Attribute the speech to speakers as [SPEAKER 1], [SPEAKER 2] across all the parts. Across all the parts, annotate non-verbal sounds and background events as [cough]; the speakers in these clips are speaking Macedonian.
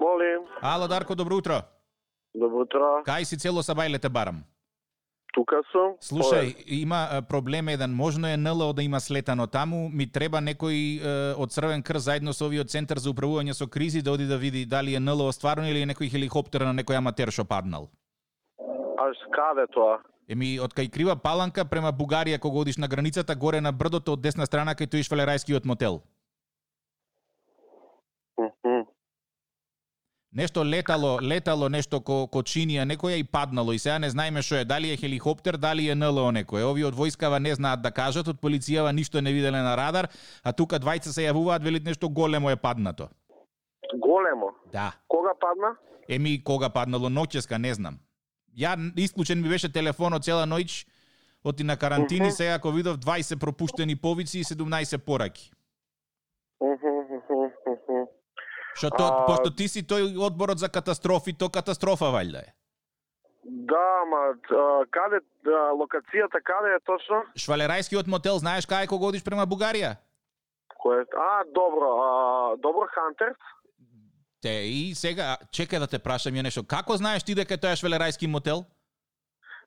[SPEAKER 1] Молим,
[SPEAKER 2] Ало, Дарко, добро утро.
[SPEAKER 1] добро утро.
[SPEAKER 2] Кај си цело сабајле те барам?
[SPEAKER 1] Тука сум.
[SPEAKER 2] Слушај,
[SPEAKER 1] Ой,
[SPEAKER 2] има е, проблем еден. Можно е НЛО да има слетано таму, ми треба некој е, од Црвен крст заедно со овиот центар за управување со кризи да оди да види дали е НЛО стварно или е некој хеликоптер на некој аматер што паднал.
[SPEAKER 1] Аж каде тоа?
[SPEAKER 2] Еми, од кај Крива Паланка према Бугарија, кога одиш на границата, горе на брдото од десна страна, кај тој швалерајскиот мотел.
[SPEAKER 1] Мгм.
[SPEAKER 2] Нешто летало, летало нешто ко, ко Чинија, некоја и паднало и сега не знаеме што е, дали е хеликоптер, дали е НЛО некој. Овие од војскава не знаат да кажат, од полицијава ништо не виделе на радар, а тука двајца се јавуваат, велит нешто големо е паднато.
[SPEAKER 1] Големо.
[SPEAKER 2] Да.
[SPEAKER 1] Кога падна?
[SPEAKER 2] Еми, кога паднало ноќеска, не знам. Ја исклучен ми беше телефонот цела ноќ, оти на карантини, сега ако видов 20 пропуштени повици и 17 пораки.
[SPEAKER 1] Мгм, мгм, мгм.
[SPEAKER 2] Што тоа,
[SPEAKER 1] А-
[SPEAKER 2] пошто ти си тој одборот за катастрофи, то катастрофа валјда е.
[SPEAKER 1] Да, ма, а, каде, а, локацијата каде е точно?
[SPEAKER 2] Швалерајскиот мотел, знаеш кај кога одиш према Бугарија?
[SPEAKER 1] Кое? А, добро, а, добро Хантер.
[SPEAKER 2] Те и сега чека да те прашам ја нешто. Како знаеш ти дека тоа е швалерајски мотел?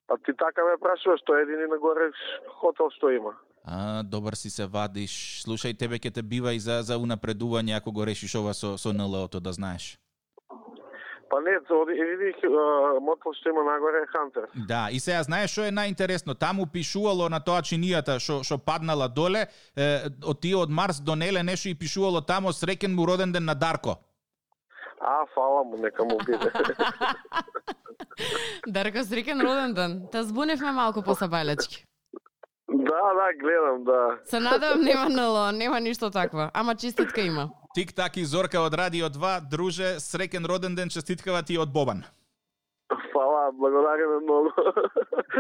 [SPEAKER 1] А ти така ме прашуваш, тоа е едини нагоре хотел што има.
[SPEAKER 2] А, добар си се вадиш. Слушај, тебе ќе те бива и за за унапредување ако го решиш ова со со НЛО-то да знаеш.
[SPEAKER 1] Па не, за оди- едини а, мотел што има нагоре е Хантер.
[SPEAKER 2] Да, и сега знаеш што е најинтересно? Таму пишувало на тоа чинијата што што паднала доле, е, од тие од Марс донеле нешто и пишувало тамо среќен му роден ден на Дарко.
[SPEAKER 1] А, фала му, нека му биде. [laughs]
[SPEAKER 3] Дарка, среќен роден ден. Та збуневме малку по сабајлечки.
[SPEAKER 1] да, да, гледам, да.
[SPEAKER 3] Се надевам нема НЛО, нема ништо такво. Ама честитка има.
[SPEAKER 2] Тик так и Зорка од Радио 2, друже, среќен роден ден, честиткава ти од Бобан.
[SPEAKER 1] [laughs] Фала, благодариме многу. é,